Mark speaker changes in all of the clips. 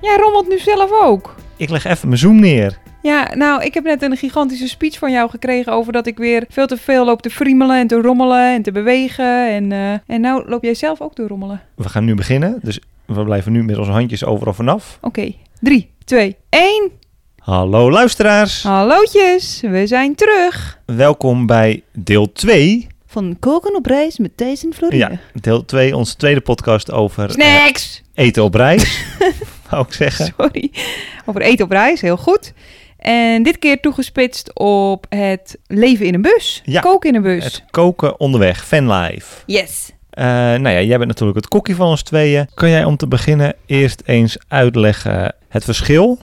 Speaker 1: Jij rommelt nu zelf ook.
Speaker 2: Ik leg even mijn zoom neer.
Speaker 1: Ja, nou, ik heb net een gigantische speech van jou gekregen over dat ik weer veel te veel loop te friemelen en te rommelen en te bewegen. En, eh, en nou loop jij zelf ook te rommelen.
Speaker 2: We gaan nu beginnen, dus we blijven nu met onze handjes overal vanaf.
Speaker 1: Oké, 3, 2, 1.
Speaker 2: Hallo luisteraars,
Speaker 1: Hallootjes, we zijn terug.
Speaker 2: welkom bij deel 2.
Speaker 1: Van koken op reis met Thijs en Florine.
Speaker 2: Ja, deel 2, onze tweede podcast over eh,
Speaker 1: Snacks!
Speaker 2: eten op reis, wou ik zeggen.
Speaker 1: Sorry. Over eten op reis, heel goed. En dit keer toegespitst op het leven in een bus.
Speaker 2: Ja.
Speaker 1: Koken in een bus.
Speaker 2: Het koken onderweg, fanlife.
Speaker 1: Yes.
Speaker 2: Eh, nou ja, jij bent natuurlijk het kokkie van ons tweeën. Kun jij om te beginnen eerst eens uitleggen het verschil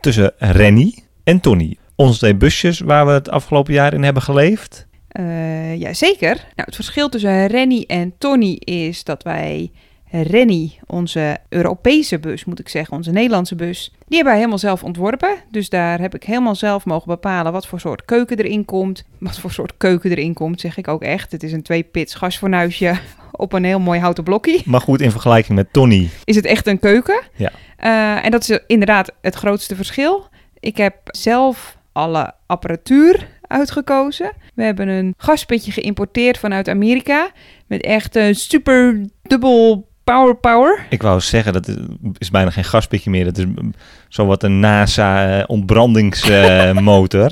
Speaker 2: tussen Rennie en Tony? Onze twee busjes waar we het afgelopen jaar in hebben geleefd.
Speaker 1: Eh, ja, zeker. Nou, het verschil tussen Rennie en Tony is dat wij Rennie, onze Europese bus, moet ik zeggen, onze Nederlandse bus, die hebben wij helemaal zelf ontworpen. Dus daar heb ik helemaal zelf mogen bepalen wat voor soort keuken erin komt. Wat voor soort keuken erin komt, zeg ik ook echt. Het is een twee-pits gasfornuisje op een heel mooi houten blokkie
Speaker 2: Maar goed, in vergelijking met Tony.
Speaker 1: is het echt een keuken.
Speaker 2: Ja.
Speaker 1: Eh, en dat is inderdaad het grootste verschil. Ik heb zelf alle apparatuur uitgekozen. We hebben een gaspitje geïmporteerd vanuit Amerika. Met echt een super dubbel power power.
Speaker 2: Ik wou zeggen, dat is, is bijna geen gaspitje meer. Dat is mm, zowat een eh, NASA-ontbrandingsmotor.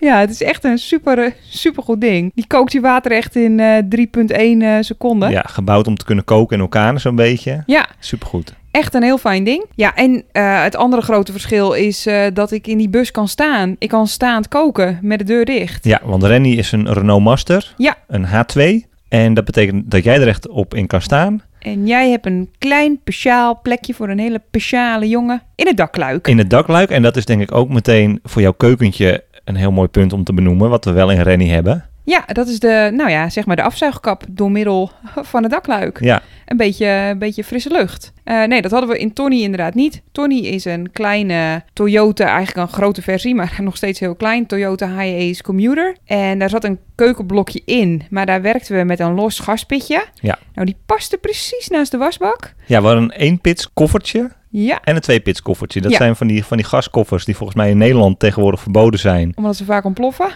Speaker 1: Ja, het is echt een super, eh, super goed ding. Die kookt je water echt in eh, 3.1 eh, seconden.
Speaker 2: ja, gebouwd om te kunnen koken in elkaar zo'n beetje.
Speaker 1: ja,
Speaker 2: Supergoed.
Speaker 1: Echt een heel fijn ding. Ja, en eh, het andere grote verschil is eh, dat ik in die bus kan staan. Ik kan staand koken met de deur dicht.
Speaker 2: Ja, want Rennie is een Renault Master.
Speaker 1: Ja.
Speaker 2: Een H2. En dat betekent dat jij er echt op in kan staan.
Speaker 1: En jij hebt een klein speciaal plekje voor een hele speciale jongen in het dakluik.
Speaker 2: In het dakluik. En dat is denk ik ook meteen voor jouw keukentje een heel mooi punt om te benoemen. Wat we wel in Rennie hebben.
Speaker 1: Ja, dat is de, nou ja, zeg maar de afzuigkap door middel van het dakluik.
Speaker 2: Ja,
Speaker 1: Een beetje, een beetje frisse lucht. Eh, nee, dat hadden we in Tony inderdaad niet. Tony is een kleine Toyota, eigenlijk een grote versie, maar nog steeds heel klein. Toyota Hiace Commuter. En daar zat een keukenblokje in, maar daar werkten we met een los gaspitje.
Speaker 2: Ja.
Speaker 1: Nou, die paste precies naast de wasbak.
Speaker 2: ja we hadden een één pits koffertje
Speaker 1: Ja,
Speaker 2: en een twee pits koffertje. Dat
Speaker 1: Ja.
Speaker 2: zijn van die, van die gaskoffers die volgens mij in Nederland tegenwoordig verboden zijn.
Speaker 1: omdat ze vaak ontploffen.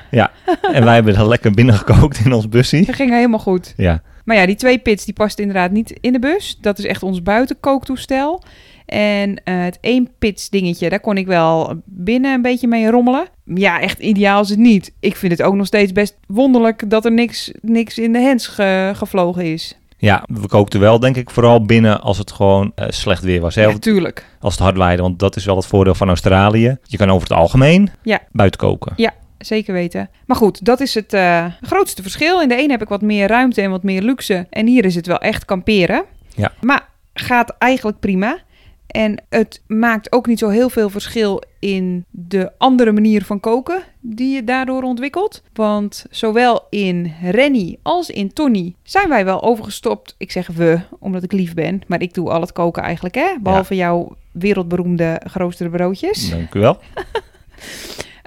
Speaker 2: en wij hebben dat lekker binnengekookt in ons bussie.
Speaker 1: Dat ging helemaal goed.
Speaker 2: Ja,
Speaker 1: Maar ja, die twee pits die past inderdaad niet in de bus. Dat is echt ons buitenkooktoestel. En eh, het één pits dingetje, daar kon ik wel binnen een beetje mee rommelen. Ja, echt ideaal is het niet. Ik vind het ook nog steeds best wonderlijk dat er niks, niks in de hens ge- gevlogen is.
Speaker 2: ja, we kookten wel denk ik vooral binnen als het gewoon eh, slecht weer was. Hè? Of
Speaker 1: Natuurlijk.
Speaker 2: als het hard waaide, want dat is wel het voordeel van Australië. Je kan over het algemeen
Speaker 1: Ja.
Speaker 2: buiten koken.
Speaker 1: Zeker weten. Maar goed, dat is het eh, grootste verschil. In de een heb ik wat meer ruimte en wat meer luxe. En hier is het wel echt kamperen.
Speaker 2: Ja.
Speaker 1: Maar gaat eigenlijk prima. En het maakt ook niet zo heel veel verschil in de andere manier van koken die je daardoor ontwikkelt. Want zowel in Rennie als in Tony zijn wij wel overgestopt. Ik zeg we, omdat ik lief ben. Maar ik doe al het koken eigenlijk, hè? Behalve jouw wereldberoemde geroosterde broodjes.
Speaker 2: Dank u wel.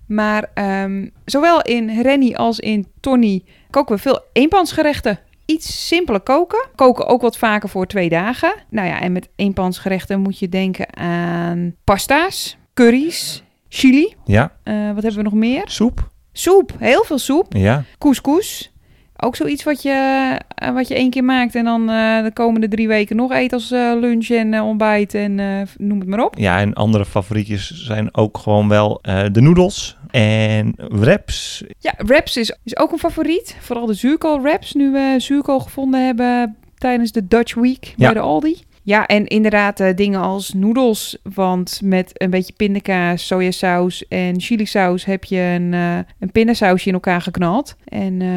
Speaker 1: Maar ehm, zowel in Rennie als in Tony koken we veel eenpansgerechten. Iets simpeler koken. Koken ook wat vaker voor twee dagen. Nou ja, en met eenpansgerechten moet je denken aan pasta's, curry's, chili.
Speaker 2: Ja,
Speaker 1: Eh, wat hebben we nog meer?
Speaker 2: soep.
Speaker 1: Soep. Heel veel soep.
Speaker 2: Ja,
Speaker 1: Couscous. Ook zoiets wat je, eh, wat je één keer maakt en dan eh, de komende drie weken nog eet als eh, lunch en eh, ontbijt en eh, noem het maar op.
Speaker 2: Ja, en andere favorietjes zijn ook gewoon wel eh, de noedels en wraps.
Speaker 1: Ja, wraps is, is ook een favoriet. Vooral de zuurkoolwraps, nu we zuurkool gevonden hebben tijdens de Dutch Week
Speaker 2: Ja.
Speaker 1: bij de Aldi. Ja, en inderdaad eh, dingen als noedels. Want met een beetje pindakaas, sojasaus en chilisaus heb je een, eh, een pindasausje in elkaar geknald. En eh,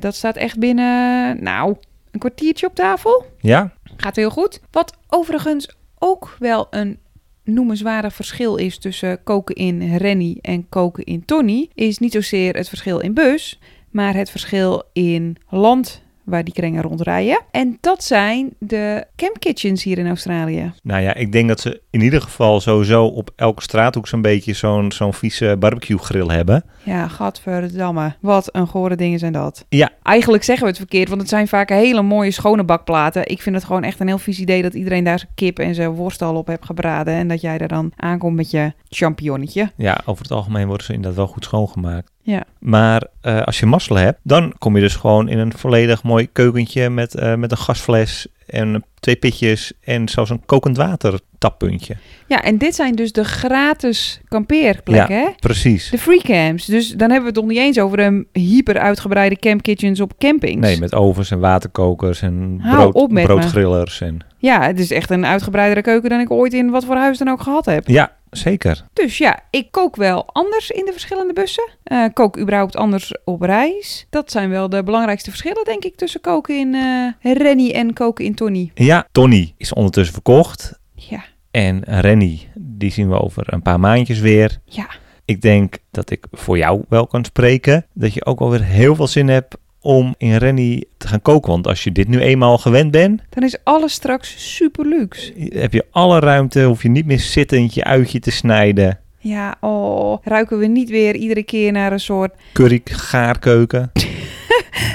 Speaker 1: dat staat echt binnen, nou, een kwartiertje op tafel.
Speaker 2: Ja,
Speaker 1: Gaat heel goed. Wat overigens ook wel een noemenswaardig verschil is tussen koken in Rennie en koken in Tony, is niet zozeer het verschil in bus, maar het verschil in land waar die krengen rondrijden. En dat zijn de campkitchens hier in Australië.
Speaker 2: nou ja, ik denk dat ze in ieder geval sowieso op elke straathoek zo'n beetje zo'n zo'n vieze barbecue grill hebben.
Speaker 1: Ja, gadverdamme. Wat een gore dingen zijn dat.
Speaker 2: Ja.
Speaker 1: Eigenlijk zeggen we het verkeerd, want het zijn vaak hele mooie schone bakplaten. Ik vind het gewoon echt een heel vies idee dat iedereen daar zijn kip en zijn worst al op hebt gebraden. En dat jij daar dan aankomt met je champignonnetje.
Speaker 2: Ja, over het algemeen worden ze inderdaad wel goed schoongemaakt.
Speaker 1: Ja.
Speaker 2: Maar eh, als je mazzel hebt, dan kom je dus gewoon in een volledig mooi keukentje met, eh, met een gasfles en twee pitjes en zelfs een kokend water tappuntje.
Speaker 1: Ja, en dit zijn dus de gratis kampeerplekken, hè?
Speaker 2: Precies.
Speaker 1: De free camps. Dus dan hebben we het nog niet eens over een hyper uitgebreide campkitchens op campings.
Speaker 2: Nee, met ovens en waterkokers en
Speaker 1: Hou
Speaker 2: brood,
Speaker 1: op met me.
Speaker 2: broodgrillers. En...
Speaker 1: Ja, het is echt een uitgebreidere keuken dan ik ooit in wat voor huis dan ook gehad heb.
Speaker 2: Ja, zeker.
Speaker 1: Dus ja, ik kook wel anders in de verschillende bussen. Eh, kook überhaupt anders op reis. Dat zijn wel de belangrijkste verschillen, denk ik, tussen koken in eh Rennie en koken in Tony.
Speaker 2: Ja, Tony is ondertussen verkocht.
Speaker 1: Ja,
Speaker 2: En Rennie, die zien we over een paar maandjes weer.
Speaker 1: ja.
Speaker 2: Ik denk dat ik voor jou wel kan spreken. Dat je ook wel weer heel veel zin hebt om in Rennie te gaan koken. Want als je dit nu eenmaal gewend bent,
Speaker 1: Dan is alles straks super luxe.
Speaker 2: heb je alle ruimte. Hoef je niet meer zittend je uitje te snijden.
Speaker 1: Ja, oh. Ruiken we niet weer iedere keer naar een soort
Speaker 2: Curry gaarkeuken.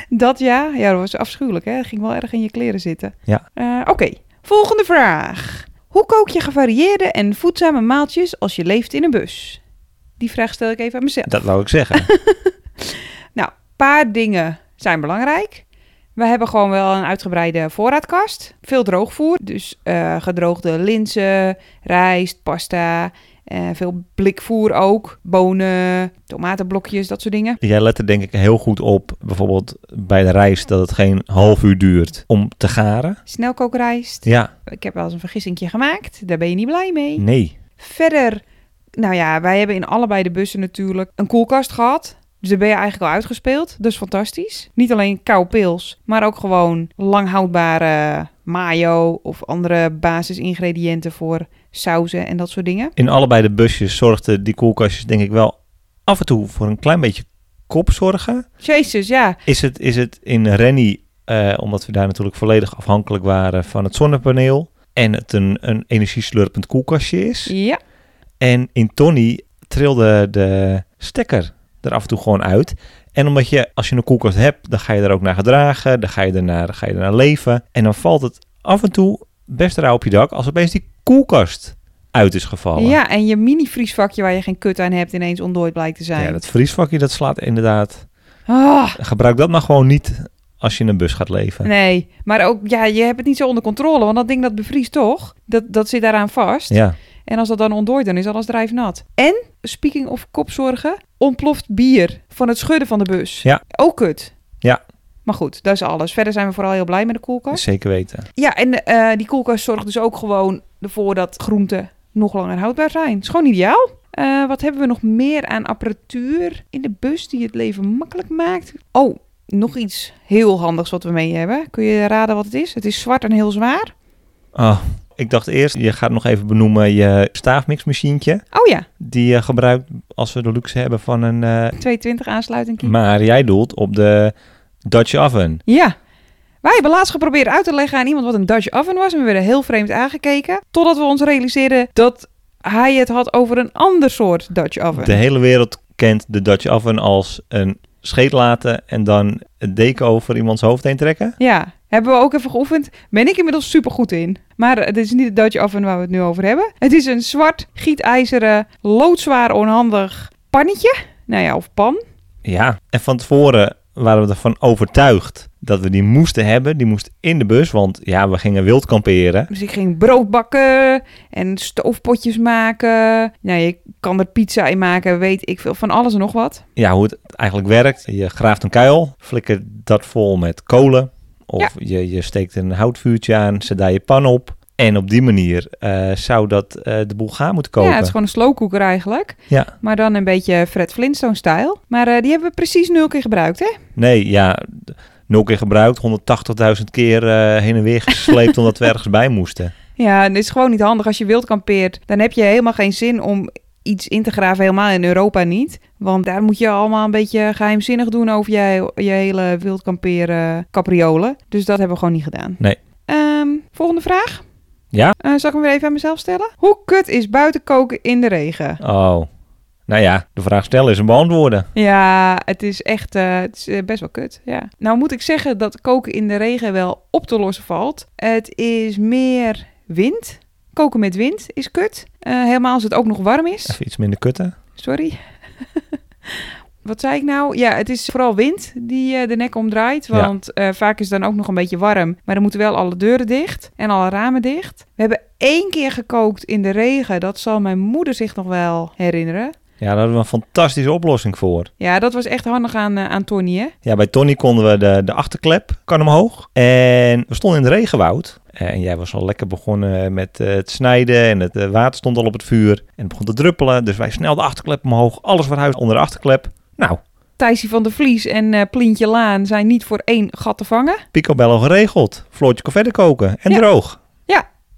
Speaker 1: Dat ja, ja, dat was afschuwelijk, hè? Dat ging wel erg in je kleren zitten.
Speaker 2: Ja.
Speaker 1: Eh, Oké, volgende vraag. Hoe kook je gevarieerde en voedzame maaltjes als je leeft in een bus? Die vraag stel ik even aan mezelf.
Speaker 2: Dat wou ik zeggen.
Speaker 1: paar dingen zijn belangrijk. We hebben gewoon wel een uitgebreide voorraadkast. Veel droogvoer, dus eh, gedroogde linzen, rijst, pasta, eh, veel blikvoer ook. Bonen, tomatenblokjes, dat soort dingen.
Speaker 2: Jij let er denk ik heel goed op, bijvoorbeeld bij de rijst, dat het geen half uur duurt om te garen.
Speaker 1: Snelkookrijst.
Speaker 2: Ja,
Speaker 1: Ik heb wel eens een vergissingje gemaakt. Daar ben je niet blij mee.
Speaker 2: nee.
Speaker 1: Verder, nou ja, wij hebben in allebei de bussen natuurlijk een koelkast gehad. Dus daar ben je eigenlijk al uitgespeeld. Dus fantastisch. Niet alleen koude pils, maar ook gewoon lang houdbare mayo of andere basisingrediënten voor sauzen en dat soort dingen.
Speaker 2: In allebei de busjes zorgden die koelkastjes denk ik wel af en toe voor een klein beetje kopzorgen.
Speaker 1: Jezus, ja.
Speaker 2: Is het, is het in Rennie, eh, omdat we daar natuurlijk volledig afhankelijk waren van het zonnepaneel en het een, een energieslurpend koelkastje is.
Speaker 1: Ja,
Speaker 2: En in Tony trilde de stekker er af en toe gewoon uit. En omdat je, als je een koelkast hebt, dan ga je er ook naar gedragen, dan ga je er naar, ga je er naar leven. En dan valt het af en toe best rauw op je dak als opeens die koelkast uit is gevallen.
Speaker 1: ja, en je mini-vriesvakje waar je geen kut aan hebt ineens ontdooid blijkt te zijn.
Speaker 2: Ja, dat vriesvakje, dat slaat inderdaad.
Speaker 1: Ah,
Speaker 2: Gebruik dat maar gewoon niet als je in een bus gaat leven.
Speaker 1: nee, maar ook, ja, je hebt het niet zo onder controle, want dat ding dat bevriest toch? Dat, dat zit daaraan vast.
Speaker 2: Ja,
Speaker 1: En als dat dan ontdooit, dan is alles drijfnat. En, speaking of kopzorgen, ontploft bier van het schudden van de bus.
Speaker 2: Ja.
Speaker 1: Ook kut.
Speaker 2: Ja.
Speaker 1: Maar goed, dat is alles. Verder zijn we vooral heel blij met de koelkast.
Speaker 2: zeker weten.
Speaker 1: Ja, en eh, die koelkast zorgt dus ook gewoon ervoor dat groenten nog langer houdbaar zijn. Is gewoon ideaal. Eh, wat hebben we nog meer aan apparatuur in de bus die het leven makkelijk maakt? Oh, nog iets heel handigs wat we mee hebben. Kun je raden wat het is? Het is zwart en heel zwaar.
Speaker 2: Oh, ik dacht eerst, je gaat nog even benoemen je staafmixmachientje.
Speaker 1: Oh ja,
Speaker 2: Die je gebruikt als we de luxe hebben van een... eh,
Speaker 1: 220 aansluiting.
Speaker 2: Maar jij doelt op de Dutch oven.
Speaker 1: Ja. Wij hebben laatst geprobeerd uit te leggen aan iemand wat een Dutch oven was. En we werden heel vreemd aangekeken. Totdat we ons realiseerden dat hij het had over een ander soort Dutch oven.
Speaker 2: De hele wereld kent de Dutch oven als een scheet laten en dan het deken over iemands hoofd heen trekken.
Speaker 1: Ja, hebben we ook even geoefend. Ben ik inmiddels supergoed in. Maar eh, dit is niet de Dutch oven waar we het nu over hebben. Het is een zwart, gietijzeren, loodzwaar onhandig pannetje. Nou ja, of pan.
Speaker 2: Ja. En van tevoren waren we ervan overtuigd dat we die moesten hebben. Die moest in de bus, want ja, we gingen wild kamperen.
Speaker 1: Dus ik ging brood bakken en stoofpotjes maken. Nou, je kan er pizza in maken, weet ik veel. Van alles en nog wat.
Speaker 2: Ja, hoe het eigenlijk werkt. Je graaft een kuil, flikker dat vol met kolen. Of je, je steekt een houtvuurtje aan, zet daar je pan op. En op die manier eh, zou dat eh, de boel gaan moeten kopen.
Speaker 1: Ja, het is gewoon een slowcooker eigenlijk.
Speaker 2: Ja.
Speaker 1: Maar dan een beetje Fred Flintstone-stijl. Maar eh, die hebben we precies nul keer gebruikt, hè?
Speaker 2: Nee, ja, d- nul keer gebruikt, 180.000 keer eh, heen en weer gesleept omdat we ergens bij moesten.
Speaker 1: Ja, en dit is gewoon niet handig. Als je wild kampeert, dan heb je helemaal geen zin om iets in te graven. Helemaal in Europa niet. Want daar moet je allemaal een beetje geheimzinnig doen over je, je hele wildkamperen capriolen. Dus dat hebben we gewoon niet gedaan.
Speaker 2: Nee.
Speaker 1: Ehm, volgende vraag.
Speaker 2: Ja?
Speaker 1: Eh, zal ik hem weer even aan mezelf stellen? Hoe kut is buiten koken in de regen?
Speaker 2: Oh, nou ja, de vraag stellen is een beantwoorden.
Speaker 1: Ja, het is echt eh, het is eh, best wel kut. Ja. Nou moet ik zeggen dat koken in de regen wel op te lossen valt. Het is meer wind. Koken met wind is kut. Eh, helemaal als het ook nog warm is.
Speaker 2: Even iets minder kutten.
Speaker 1: Sorry. Wat zei ik nou? Ja, het is vooral wind die eh, de nek omdraait.
Speaker 2: Ja.
Speaker 1: Want eh, vaak is het dan ook nog een beetje warm. Maar dan moeten wel alle deuren dicht en alle ramen dicht. We hebben één keer gekookt in de regen. Dat zal mijn moeder zich nog wel herinneren.
Speaker 2: Ja, daar hadden we een fantastische oplossing voor.
Speaker 1: Ja, dat was echt handig aan, eh, aan Tony, hè?
Speaker 2: Ja, bij Tony konden we de, de achterklep, kan omhoog. En we stonden in het regenwoud. Eh, En jij was al lekker begonnen met eh, het snijden en het eh, water stond al op het vuur. En het begon te druppelen, dus wij snel de achterklep omhoog. Alles verhuisd onder de achterklep. Nou,
Speaker 1: Thijsie van der Vlies en eh Plintje Laan zijn niet voor één gat te vangen.
Speaker 2: picobello geregeld. Floortje kon verder koken en
Speaker 1: Ja.
Speaker 2: droog.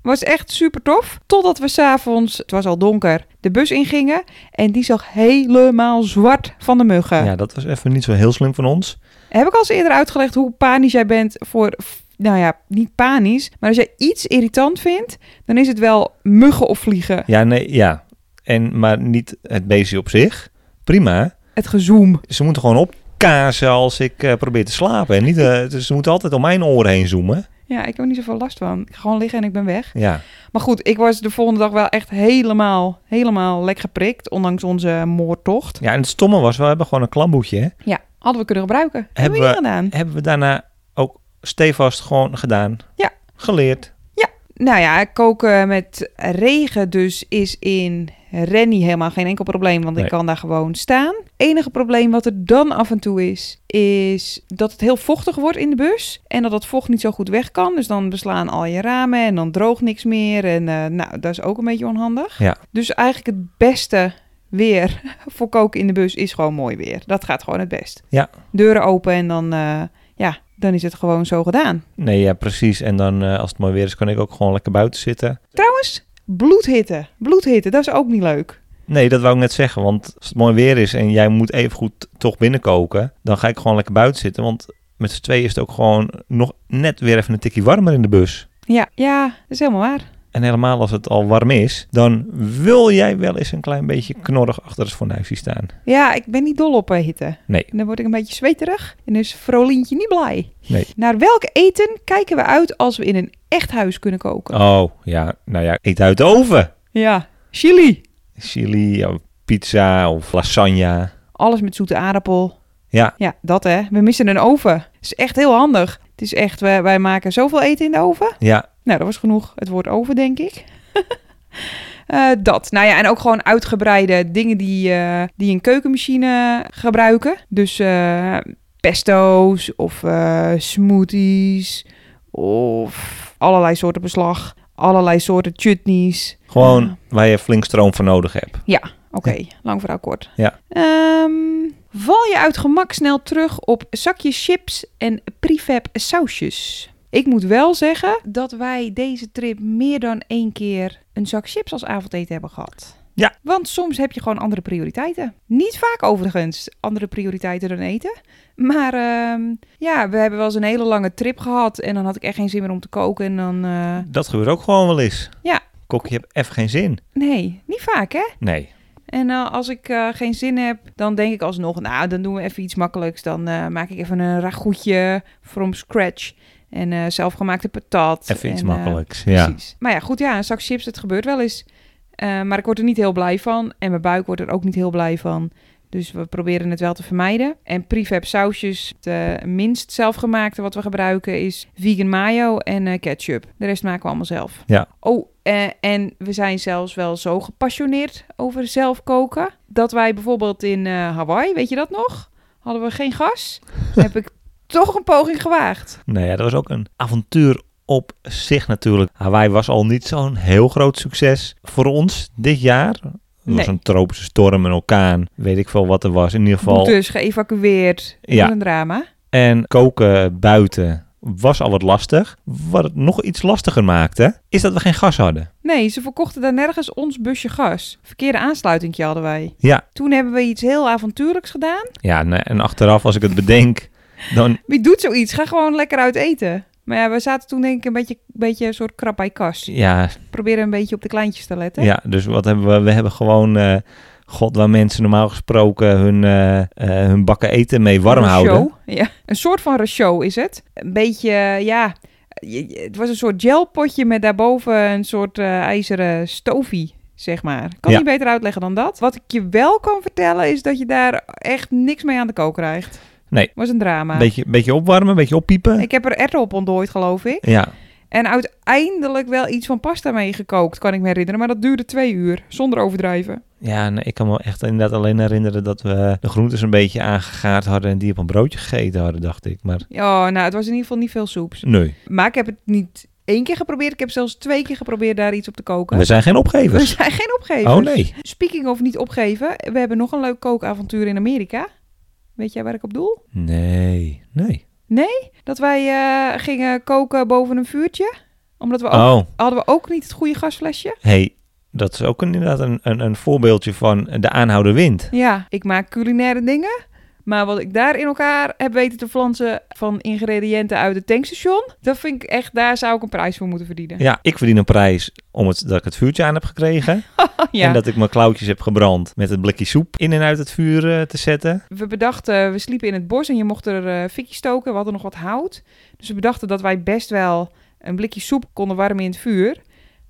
Speaker 1: Was echt super tof. Totdat we s'avonds, het was al donker, de bus ingingen. En die zag helemaal zwart van de muggen.
Speaker 2: Ja, dat was even niet zo heel slim van ons.
Speaker 1: Heb ik al eens eerder uitgelegd hoe panisch jij bent voor... f- Nou ja, niet panisch. Maar als jij iets irritant vindt, dan is het wel muggen of vliegen.
Speaker 2: Ja, nee, ja. En, maar niet het beestje op zich. Prima.
Speaker 1: Het gezoem.
Speaker 2: Ze moeten gewoon opkazen als ik eh, probeer te slapen. En niet, eh, dus ze moeten altijd om mijn oren heen zoomen.
Speaker 1: Ja, ik heb er niet zoveel last van. Ik ga gewoon liggen en ik ben weg.
Speaker 2: Ja,
Speaker 1: Maar goed, ik was de volgende dag wel echt helemaal, helemaal lek geprikt. Ondanks onze moordtocht.
Speaker 2: ja en het stomme was, we hebben gewoon een klamboetje. Hè?
Speaker 1: Ja, hadden we kunnen gebruiken.
Speaker 2: Hebben
Speaker 1: Hebben we niet gedaan.
Speaker 2: Hebben we daarna ook stevast gewoon gedaan.
Speaker 1: Ja.
Speaker 2: Geleerd.
Speaker 1: Nou ja, koken met regen dus is in Rennie helemaal geen enkel probleem, want
Speaker 2: Nee.
Speaker 1: ik kan daar gewoon staan. Enige probleem wat er dan af en toe is, is dat het heel vochtig wordt in de bus en dat dat vocht niet zo goed weg kan. Dus dan beslaan al je ramen en dan droogt niks meer en eh, nou, dat is ook een beetje onhandig.
Speaker 2: Ja.
Speaker 1: Dus eigenlijk het beste weer voor koken in de bus is gewoon mooi weer. Dat gaat gewoon het best.
Speaker 2: Ja.
Speaker 1: Deuren open en dan, eh, ja, dan is het gewoon zo gedaan.
Speaker 2: Nee, ja, precies. En dan, eh, als het mooi weer is, kan ik ook gewoon lekker buiten zitten.
Speaker 1: Bloedhitte. Bloedhitte, dat is ook niet leuk.
Speaker 2: Nee, dat wou ik net zeggen. Want als het mooi weer is en jij moet even goed toch binnenkoken, dan ga ik gewoon lekker buiten zitten. Want met z'n tweeën is het ook gewoon nog net weer even een tikje warmer in de bus.
Speaker 1: Ja, ja, dat is helemaal waar.
Speaker 2: En helemaal als het al warm is, dan wil jij wel eens een klein beetje knorrig achter het fornuisje staan.
Speaker 1: Ja, ik ben niet dol op eh, hitte.
Speaker 2: Nee.
Speaker 1: En dan word ik een beetje zweterig en is Vrolientje niet blij.
Speaker 2: Nee.
Speaker 1: Naar welk eten kijken we uit als we in een echt huis kunnen koken?
Speaker 2: Oh, ja. Nou ja, eet uit de oven.
Speaker 1: Ja, chili.
Speaker 2: Chili, of pizza of lasagne.
Speaker 1: Alles met zoete aardappel.
Speaker 2: Ja,
Speaker 1: Ja, dat hè. We missen een oven. Het is echt heel handig. Het is echt, wij, wij maken zoveel eten in de oven.
Speaker 2: ja.
Speaker 1: Nou, dat was genoeg het woord over, denk ik. Eh, dat. Nou ja, en ook gewoon uitgebreide dingen die, eh, die een keukenmachine gebruiken. Dus eh, pesto's of eh, smoothies of allerlei soorten beslag. Allerlei soorten chutneys.
Speaker 2: Gewoon
Speaker 1: Ja.
Speaker 2: waar je flink stroom voor nodig hebt.
Speaker 1: Ja, oké. Lang verhaal kort.
Speaker 2: Ja.
Speaker 1: Ehm, val je uit gemak snel terug op zakjes chips en prefab sausjes? Ik moet wel zeggen dat wij deze trip meer dan één keer een zak chips als avondeten hebben gehad.
Speaker 2: Ja.
Speaker 1: Want soms heb je gewoon andere prioriteiten. Niet vaak overigens andere prioriteiten dan eten. Maar ehm, ja, we hebben wel eens een hele lange trip gehad. En dan had ik echt geen zin meer om te koken. En dan, eh,
Speaker 2: Dat gebeurt ook gewoon wel eens.
Speaker 1: Ja.
Speaker 2: Kokje hebt even geen zin.
Speaker 1: nee, niet vaak hè?
Speaker 2: Nee.
Speaker 1: En eh, als ik eh, geen zin heb, dan denk ik alsnog, nou, dan doen we even iets makkelijks. Dan eh, maak ik even een ragoutje from scratch. En eh, zelfgemaakte patat.
Speaker 2: Even iets
Speaker 1: en, eh,
Speaker 2: makkelijks. Ja.
Speaker 1: Precies. Maar ja, goed, ja, een zak chips, het gebeurt wel eens. Eh, maar ik word er niet heel blij van. En mijn buik wordt er ook niet heel blij van. Dus we proberen het wel te vermijden. En prefab sausjes, de minst zelfgemaakte wat we gebruiken is vegan mayo en eh, ketchup. De rest maken we allemaal zelf.
Speaker 2: Ja.
Speaker 1: Oh, eh, en we zijn zelfs wel zo gepassioneerd over zelf koken. Dat wij bijvoorbeeld in eh, Hawaii, weet je dat nog? Hadden we geen gas. heb ik toch een poging gewaagd.
Speaker 2: Nou ja, dat was ook een avontuur op zich natuurlijk. Hawaii was al niet zo'n heel groot succes voor ons dit jaar. Er was
Speaker 1: Nee.
Speaker 2: een tropische storm, een orkaan, weet ik veel wat er was. In ieder geval.
Speaker 1: Dus geëvacueerd. Dat
Speaker 2: Ja.
Speaker 1: was een drama.
Speaker 2: En koken buiten was al wat lastig. Wat het nog iets lastiger maakte, is dat we geen gas hadden.
Speaker 1: Nee, ze verkochten daar nergens ons busje gas. Verkeerde aansluitingje hadden wij.
Speaker 2: Ja,
Speaker 1: Toen hebben we iets heel avontuurlijks gedaan.
Speaker 2: ja en, eh, en achteraf als ik het bedenk, dan...
Speaker 1: Wie doet zoiets? Ga gewoon lekker uit eten. Maar ja, we zaten toen denk ik een beetje, beetje een soort krap bij kas.
Speaker 2: Ja,
Speaker 1: Proberen een beetje op de kleintjes te letten.
Speaker 2: ja dus wat hebben we? We hebben gewoon... eh, God, waar mensen normaal gesproken hun, eh, eh, hun bakken eten mee warm
Speaker 1: Een
Speaker 2: houden.
Speaker 1: show, Ja, een soort van show is het. Een beetje, ja, je- je- het was een soort gelpotje met daarboven een soort eh, ijzeren stofie, zeg maar. Kan
Speaker 2: Ja.
Speaker 1: niet beter uitleggen dan dat. Wat ik je wel kan vertellen is dat je daar echt niks mee aan de kook krijgt.
Speaker 2: Nee.
Speaker 1: Was een drama.
Speaker 2: Beetje, beetje opwarmen, beetje oppiepen.
Speaker 1: Ik heb er ertel op ontdooid, geloof ik.
Speaker 2: Ja,
Speaker 1: En uiteindelijk wel iets van pasta mee gekookt, kan ik me herinneren. Maar dat duurde twee uur, zonder overdrijven.
Speaker 2: ja nee, ik kan me echt inderdaad alleen herinneren dat we de groentes een beetje aangegaard hadden en die op een broodje gegeten hadden, dacht ik. Maar
Speaker 1: Oh, nou, het was in ieder geval niet veel soeps.
Speaker 2: nee,
Speaker 1: Maar ik heb het niet één keer geprobeerd. Ik heb zelfs twee keer geprobeerd daar iets op te koken.
Speaker 2: we zijn geen
Speaker 1: We
Speaker 2: opgevers.
Speaker 1: zijn geen opgevers.
Speaker 2: Oh nee.
Speaker 1: Speaking of niet opgeven, we hebben nog een leuk kookavontuur in Amerika. Weet jij waar ik op doel?
Speaker 2: Nee, nee.
Speaker 1: Dat wij eh, gingen koken boven een vuurtje. Omdat we ook,
Speaker 2: Oh,
Speaker 1: hadden we ook niet het goede gasflesje.
Speaker 2: hey, dat is ook inderdaad een, een, een voorbeeldje van de aanhouden wind.
Speaker 1: Ja, ik maak culinaire dingen. Maar wat ik daar in elkaar heb weten te flansen van ingrediënten uit het tankstation. Dat vind ik echt, daar zou ik een prijs voor moeten verdienen.
Speaker 2: Ja, ik verdien een prijs omdat dat ik het vuurtje aan heb gekregen.
Speaker 1: Oh Ja.
Speaker 2: En dat ik mijn klauwtjes heb gebrand met het blikje soep in en uit het vuur eh, te zetten.
Speaker 1: We bedachten, we sliepen in het bos en je mocht er eh fikjes stoken. We hadden nog wat hout. Dus we bedachten dat wij best wel een blikje soep konden warmen in het vuur.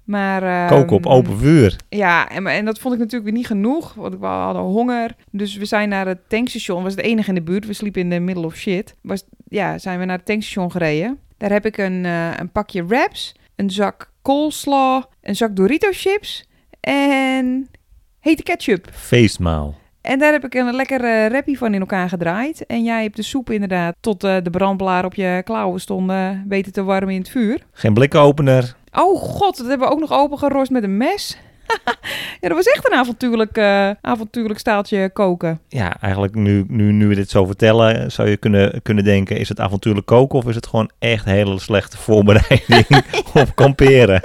Speaker 1: Maar, ehm,
Speaker 2: Koken op open vuur.
Speaker 1: Ja, en, en dat vond ik natuurlijk weer niet genoeg, want we hadden honger. Dus we zijn naar het tankstation, was het enige in de buurt. We sliepen in de middle of shit. Was, ja, zijn we naar het tankstation gereden. Daar heb ik een, eh, een pakje wraps, een zak coleslaw, een zak Dorito chips en hete ketchup.
Speaker 2: Feestmaal.
Speaker 1: En daar heb ik een lekkere rappie van in elkaar gedraaid. En jij hebt de soep inderdaad tot eh, de brandblaar op je klauwen stonden weten te warmen in het vuur.
Speaker 2: Geen blikkenopener.
Speaker 1: Oh god, dat hebben we ook nog opengerost met een mes. ja, dat was echt een avontuurlijk, eh, avontuurlijk staaltje koken.
Speaker 2: Ja, eigenlijk nu, nu, nu we dit zo vertellen, eh, zou je kunnen, kunnen denken... is het avontuurlijk koken of is het gewoon echt hele slechte voorbereiding op kamperen?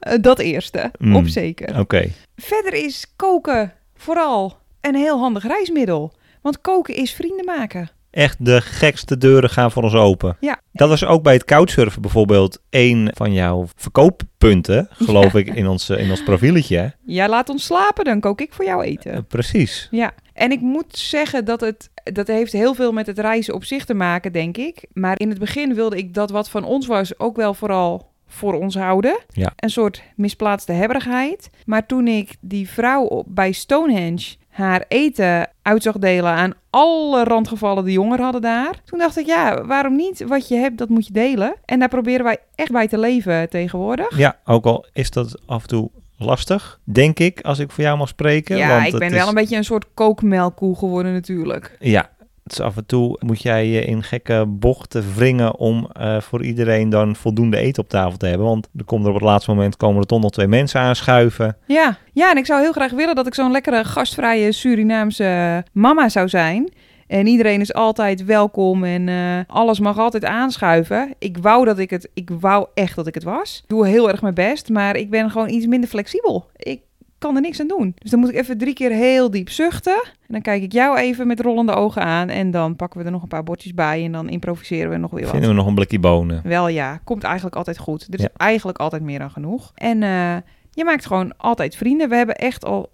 Speaker 1: Eh, dat eerste,
Speaker 2: Mm.
Speaker 1: op zeker.
Speaker 2: Oké,
Speaker 1: Verder is koken vooral een heel handig reismiddel. Want koken is vrienden maken.
Speaker 2: echt de gekste deuren gaan voor ons open.
Speaker 1: Ja.
Speaker 2: Dat was ook bij het couchsurfen bijvoorbeeld een van jouw verkooppunten, geloof ik, in ons, eh, in ons profieletje.
Speaker 1: Ja, laat ons slapen, dan kook ik voor jou eten.
Speaker 2: Eh, precies.
Speaker 1: Ja, en ik moet zeggen dat het dat heeft heel veel met het reizen op zich te maken, denk ik. Maar in het begin wilde ik dat wat van ons was ook wel vooral voor ons houden.
Speaker 2: Ja.
Speaker 1: Een soort misplaatste hebberigheid. Maar toen ik die vrouw op, bij Stonehenge haar eten uit zag delen aan alle randgevallen die jongeren hadden daar. Toen dacht ik, ja, waarom niet? Wat je hebt, dat moet je delen. En daar proberen wij echt bij te leven tegenwoordig.
Speaker 2: Ja, ook al is dat af en toe lastig, denk ik, als ik voor jou mag spreken.
Speaker 1: Ja,
Speaker 2: want
Speaker 1: ik
Speaker 2: het
Speaker 1: ben
Speaker 2: is-
Speaker 1: wel een beetje een soort kookmelkkoe geworden natuurlijk.
Speaker 2: Ja, het is af en toe moet jij je in gekke bochten wringen om eh, voor iedereen dan voldoende eten op tafel te hebben. Want er komt er op het laatste moment komen er toch nog twee mensen aanschuiven.
Speaker 1: Ja. ja, en ik zou heel graag willen dat ik zo'n lekkere gastvrije Surinaamse eh, mama zou zijn. En iedereen is altijd welkom en eh, alles mag altijd aanschuiven. Ik wou dat ik het, ik wou echt dat ik het was. Ik doe heel erg mijn best, maar ik ben gewoon iets minder flexibel. Ik kan er niks aan doen. Dus dan moet ik even drie keer heel diep zuchten. En dan kijk ik jou even met rollende ogen aan. En dan pakken we er nog een paar bordjes bij en dan improviseren we nog weer wat.
Speaker 2: Vinden we nog een blikje bonen.
Speaker 1: Wel ja, komt eigenlijk altijd goed. Er is
Speaker 2: Ja.
Speaker 1: eigenlijk altijd meer dan genoeg. En eh, je maakt gewoon altijd vrienden. We hebben echt al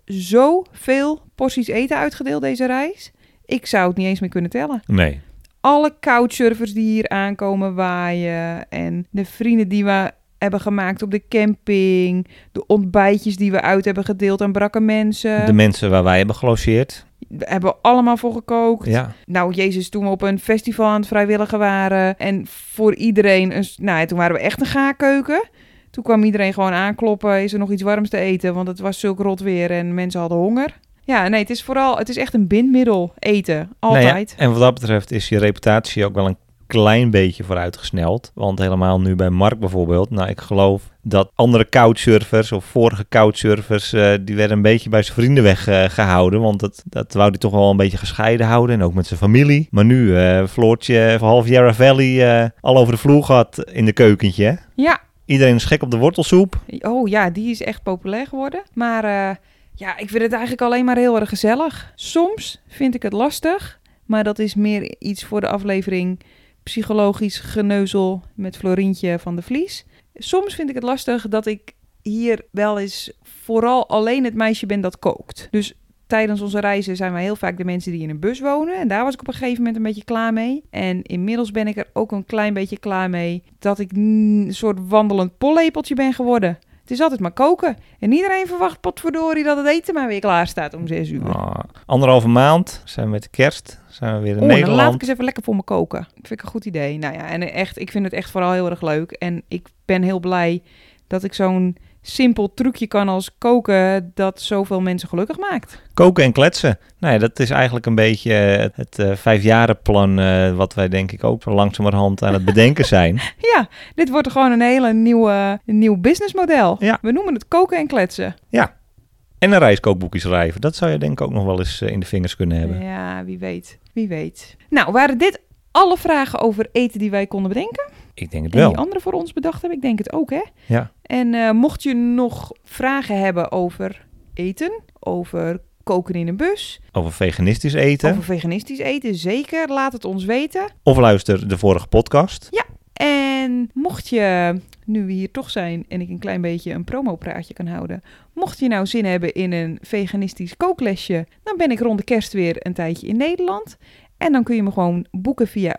Speaker 1: zoveel porties eten uitgedeeld deze reis. Ik zou het niet eens meer kunnen tellen.
Speaker 2: Nee.
Speaker 1: Alle couchsurfers die hier aankomen waaien. En de vrienden die we hebben gemaakt op de camping. De ontbijtjes die we uit hebben gedeeld aan brakke mensen.
Speaker 2: De mensen waar wij hebben gelogeerd.
Speaker 1: We hebben we allemaal voor gekookt.
Speaker 2: Ja.
Speaker 1: Nou, Jezus, toen we op een festival aan het vrijwilligen waren en voor iedereen, een, s- nou ja, toen waren we echt een gaakeuken. Toen kwam iedereen gewoon aankloppen, is er nog iets warms te eten, want het was zulk rot weer en mensen hadden honger. Ja, nee, het is vooral, het is echt een bindmiddel, eten,
Speaker 2: Nou ja,
Speaker 1: altijd.
Speaker 2: en wat dat betreft is je reputatie ook wel een klein beetje vooruitgesneld. Want helemaal nu bij Mark bijvoorbeeld. Nou, ik geloof dat andere couchsurfers of vorige couchsurfers... eh, die werden een beetje bij zijn vrienden weggehouden. want dat, dat wou hij toch wel een beetje gescheiden houden. En ook met zijn familie. Maar nu, eh Floortje van half Yarra Valley... eh, al over de vloer gehad in de keukentje. hè?
Speaker 1: Ja,
Speaker 2: Iedereen is gek op de wortelsoep.
Speaker 1: oh ja, die is echt populair geworden. Maar eh, ja, ik vind het eigenlijk alleen maar heel erg gezellig. Soms vind ik het lastig, maar dat is meer iets voor de aflevering psychologisch geneuzel met Florientje van de Vlies. Soms vind ik het lastig dat ik hier wel eens vooral alleen het meisje ben dat kookt. Dus tijdens onze reizen zijn wij heel vaak de mensen die in een bus wonen. En daar was ik op een gegeven moment een beetje klaar mee. En inmiddels ben ik er ook een klein beetje klaar mee dat ik mm, een soort wandelend pollepeltje ben geworden. Het is altijd maar koken. En iedereen verwacht potverdorie dat het eten maar weer klaar staat om zes uur.
Speaker 2: Ah, anderhalve maand zijn we met kerst. Zijn we weer in
Speaker 1: Oh, dan laat
Speaker 2: Nederland.
Speaker 1: ik eens even lekker voor me koken. Dat vind ik een goed idee. Nou ja, en echt, ik vind het echt vooral heel erg leuk. En ik ben heel blij dat ik zo'n simpel trucje kan als koken dat zoveel mensen gelukkig maakt.
Speaker 2: Koken en kletsen. Nou ja, dat is eigenlijk een beetje eh, het, het eh, vijfjarenplan eh, wat wij denk ik ook zo langzamerhand aan het bedenken zijn.
Speaker 1: Ja, dit wordt gewoon een hele nieuwe, een nieuw businessmodel.
Speaker 2: Ja.
Speaker 1: We noemen het koken en kletsen.
Speaker 2: En een reiskookboekje schrijven. Dat zou je denk ik ook nog wel eens eh, in de vingers kunnen hebben.
Speaker 1: Ja, wie weet. Wie weet. Nou, waren dit alle vragen over eten die wij konden bedenken?
Speaker 2: Ik denk het
Speaker 1: En die
Speaker 2: wel.
Speaker 1: andere voor ons bedacht hebben, ik denk het ook, hè?
Speaker 2: Ja.
Speaker 1: En eh, mocht je nog vragen hebben over eten, over koken in een bus,
Speaker 2: Over veganistisch eten.
Speaker 1: over veganistisch eten, zeker, laat het ons weten.
Speaker 2: Of luister de vorige podcast.
Speaker 1: En mocht je, nu we hier toch zijn en ik een klein beetje een promopraatje kan houden, mocht je nou zin hebben in een veganistisch kooklesje, dan ben ik rond de kerst weer een tijdje in Nederland. En dan kun je me gewoon boeken via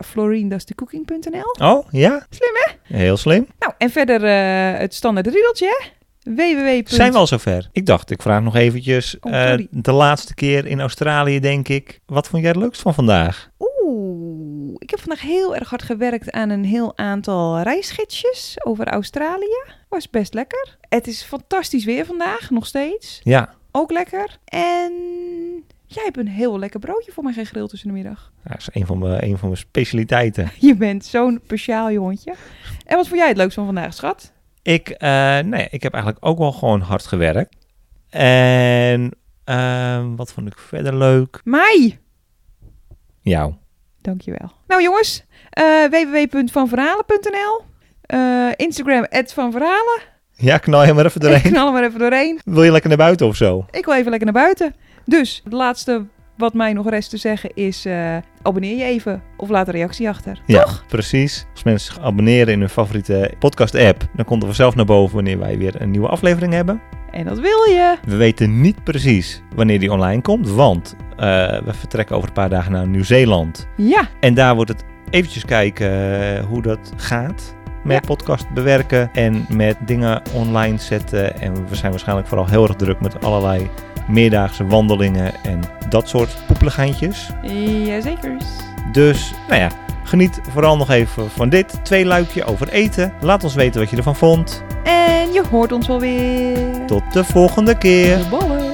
Speaker 1: florindastecooking.nl.
Speaker 2: Oh, ja?
Speaker 1: Slim,
Speaker 2: hè? Heel slim.
Speaker 1: Nou, en verder eh, het standaard riedeltje, hè? www.
Speaker 2: Zijn we al zover? Ik dacht, ik vraag nog eventjes.
Speaker 1: Oh,
Speaker 2: eh,
Speaker 1: sorry.
Speaker 2: de laatste keer in Australië denk ik. Wat vond jij het leukst van vandaag?
Speaker 1: Oeh, ik heb vandaag heel erg hard gewerkt aan een heel aantal reisgidsjes over Australië. Was best lekker. Het is fantastisch weer vandaag, nog steeds.
Speaker 2: Ja.
Speaker 1: Ook lekker. En jij hebt een heel lekker broodje voor mij gegrild tussen de middag.
Speaker 2: Dat is een van mijn, een van mijn specialiteiten.
Speaker 1: Je bent zo'n speciaal jongetje. En wat vond jij het leukst van vandaag, schat?
Speaker 2: Ik, eh, nee, ik heb eigenlijk ook wel gewoon hard gewerkt. En ehm, wat vond ik verder leuk?
Speaker 1: Mij!
Speaker 2: Jou.
Speaker 1: Dankjewel. Nou jongens, eh www.vanverhalen.nl eh, Instagram, vanverhalen.
Speaker 2: Ja, knal je maar even
Speaker 1: Ik
Speaker 2: doorheen.
Speaker 1: knal er maar even doorheen.
Speaker 2: Wil je lekker naar buiten of zo?
Speaker 1: Ik wil even lekker naar buiten. Dus het laatste wat mij nog rest te zeggen is: eh, abonneer je even of laat een reactie achter. Toch?
Speaker 2: Ja, precies. Als mensen zich abonneren in hun favoriete podcast-app, dan komt er vanzelf naar boven wanneer wij weer een nieuwe aflevering hebben.
Speaker 1: En dat wil je.
Speaker 2: We weten niet precies wanneer die online komt, want eh, we vertrekken over een paar dagen naar Nieuw-Zeeland.
Speaker 1: Ja,
Speaker 2: En daar wordt het eventjes kijken eh, hoe dat gaat. Met
Speaker 1: Ja.
Speaker 2: podcast bewerken en met dingen online zetten. En we zijn waarschijnlijk vooral heel erg druk met allerlei meerdaagse wandelingen en dat soort poepeligaantjes.
Speaker 1: jazeker.
Speaker 2: Dus, nou ja, geniet vooral nog even van dit. Twee luikje over eten. Laat ons weten wat je ervan vond.
Speaker 1: En je hoort ons wel weer.
Speaker 2: Tot de volgende keer.
Speaker 1: de bollen.